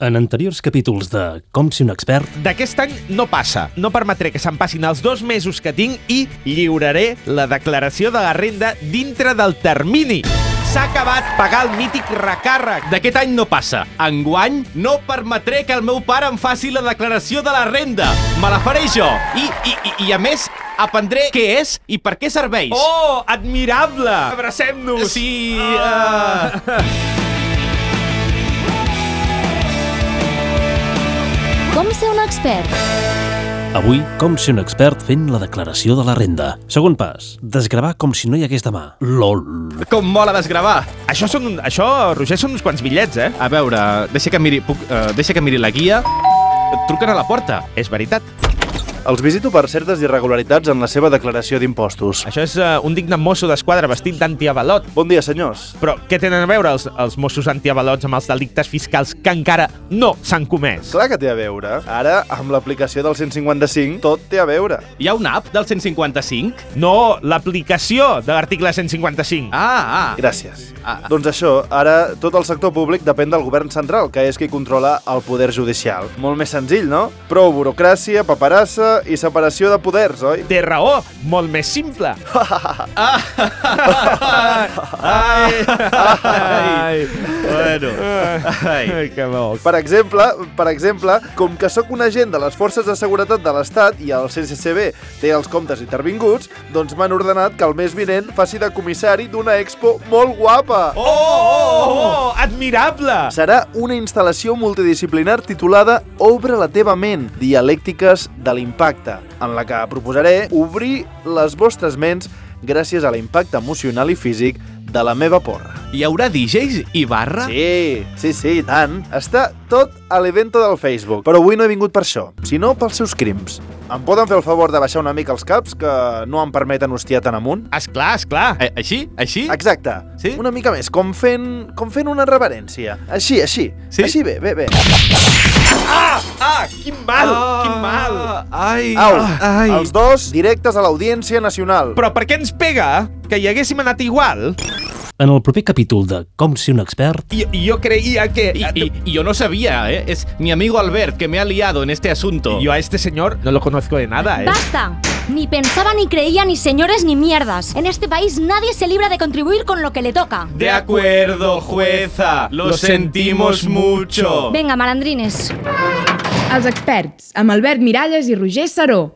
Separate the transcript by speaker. Speaker 1: en anteriors capítols de Com si un expert,
Speaker 2: D'aquest any no passa. No permetré que se'n passin els dos mesos que tinc i lliuraré la declaració de la renda dintre del termini. S'ha acabat pagar el mític recàrrec.
Speaker 3: D'aquest any no passa. Enguany no permetré que el meu pare em faci la declaració de la renda. Me la faré jo. I, i, i, i a més, aprendré què és i per què serveix.
Speaker 2: Oh, admirable! Abracem-nos! Ah.
Speaker 3: Sí... Uh...
Speaker 4: Com ser un expert?
Speaker 1: avui Com si un expert fent la declaració de la renda. Segon pas, desgravar com si no hi hagués demà. LOL.
Speaker 3: Com mola desgravar.
Speaker 2: Això, són, un- això, Roger, són uns quants bitllets, eh?
Speaker 3: A veure, deixa que miri, puc, uh, deixa que miri la guia. Et truquen a la porta.
Speaker 2: És veritat.
Speaker 5: Els visito per certes irregularitats en la seva declaració d'impostos.
Speaker 2: Això és uh, un digne mosso d'esquadra vestit d'antiavalot.
Speaker 5: Bon dia, senyors.
Speaker 2: Però què tenen a veure els, els Mossos antiavalots amb els delictes fiscals que encara no s'han comès?
Speaker 5: Clar que té a veure. Ara, amb l'aplicació del 155, tot té a veure.
Speaker 3: Hi ha una app del 155?
Speaker 2: No l'aplicació de l'article 155.
Speaker 3: Ah, ah.
Speaker 5: Gràcies.
Speaker 3: Ah, ah.
Speaker 5: Doncs això, ara tot el sector públic depèn del govern central, que és qui controla el poder judicial. Molt més senzill, no? Prou burocràcia, paperassa i separació de poders, oi?
Speaker 2: Té raó, molt més simple.
Speaker 3: Ai. Ai. Bueno. Ai.
Speaker 2: Ai, que bo.
Speaker 5: Per exemple, per exemple, com que sóc un agent de les forces de seguretat de l'Estat i el CCCB té els comptes intervinguts, doncs m'han ordenat que el mes vinent faci de comissari d'una expo molt guapa.
Speaker 2: Oh, oh, oh, admirable!
Speaker 5: Serà una instal·lació multidisciplinar titulada Obre la teva ment, dialèctiques de l'impacte, en la que proposaré obrir les vostres ments gràcies a l'impacte emocional i físic de la meva porra.
Speaker 3: Hi haurà DJs i barra?
Speaker 5: Sí, sí, sí, i tant. Està tot a l'evento del Facebook. Però avui no he vingut per això, sinó pels seus crims. Em poden fer el favor de baixar una mica els caps, que no em permeten hostiar tan amunt?
Speaker 2: Esclar, esclar.
Speaker 3: A així? Així?
Speaker 5: Exacte.
Speaker 3: Sí?
Speaker 5: Una mica més, com fent, com fent una reverència. Així, així.
Speaker 3: Sí?
Speaker 5: Així bé, bé, bé.
Speaker 2: Ah, quin mal, ah. quin mal.
Speaker 3: Ah, Ai.
Speaker 5: Au, els dos directes a l'Audiència Nacional.
Speaker 2: Però per què ens pega? Que hi haguéssim anat igual?
Speaker 1: En el proper capítol de Com si un expert,
Speaker 2: Jo, jo creia que... eh,
Speaker 3: Y, y- y yo no sabía, ¿eh? Es mi amigo Albert que me ha liado en este asunto.
Speaker 2: Yo a este señor no lo conozco de nada, ¿eh?
Speaker 4: Basta. Ni pensaba, ni creía, ni señores, ni mierdas. En este país nadie se libra de contribuir con lo que le toca.
Speaker 3: De acuerdo, jueza. Lo,
Speaker 2: Lo sentimos
Speaker 3: sentimos mucho.
Speaker 2: Oh.
Speaker 4: Venga, malandrines.
Speaker 6: Els experts, amb Albert Miralles i Roger Saró.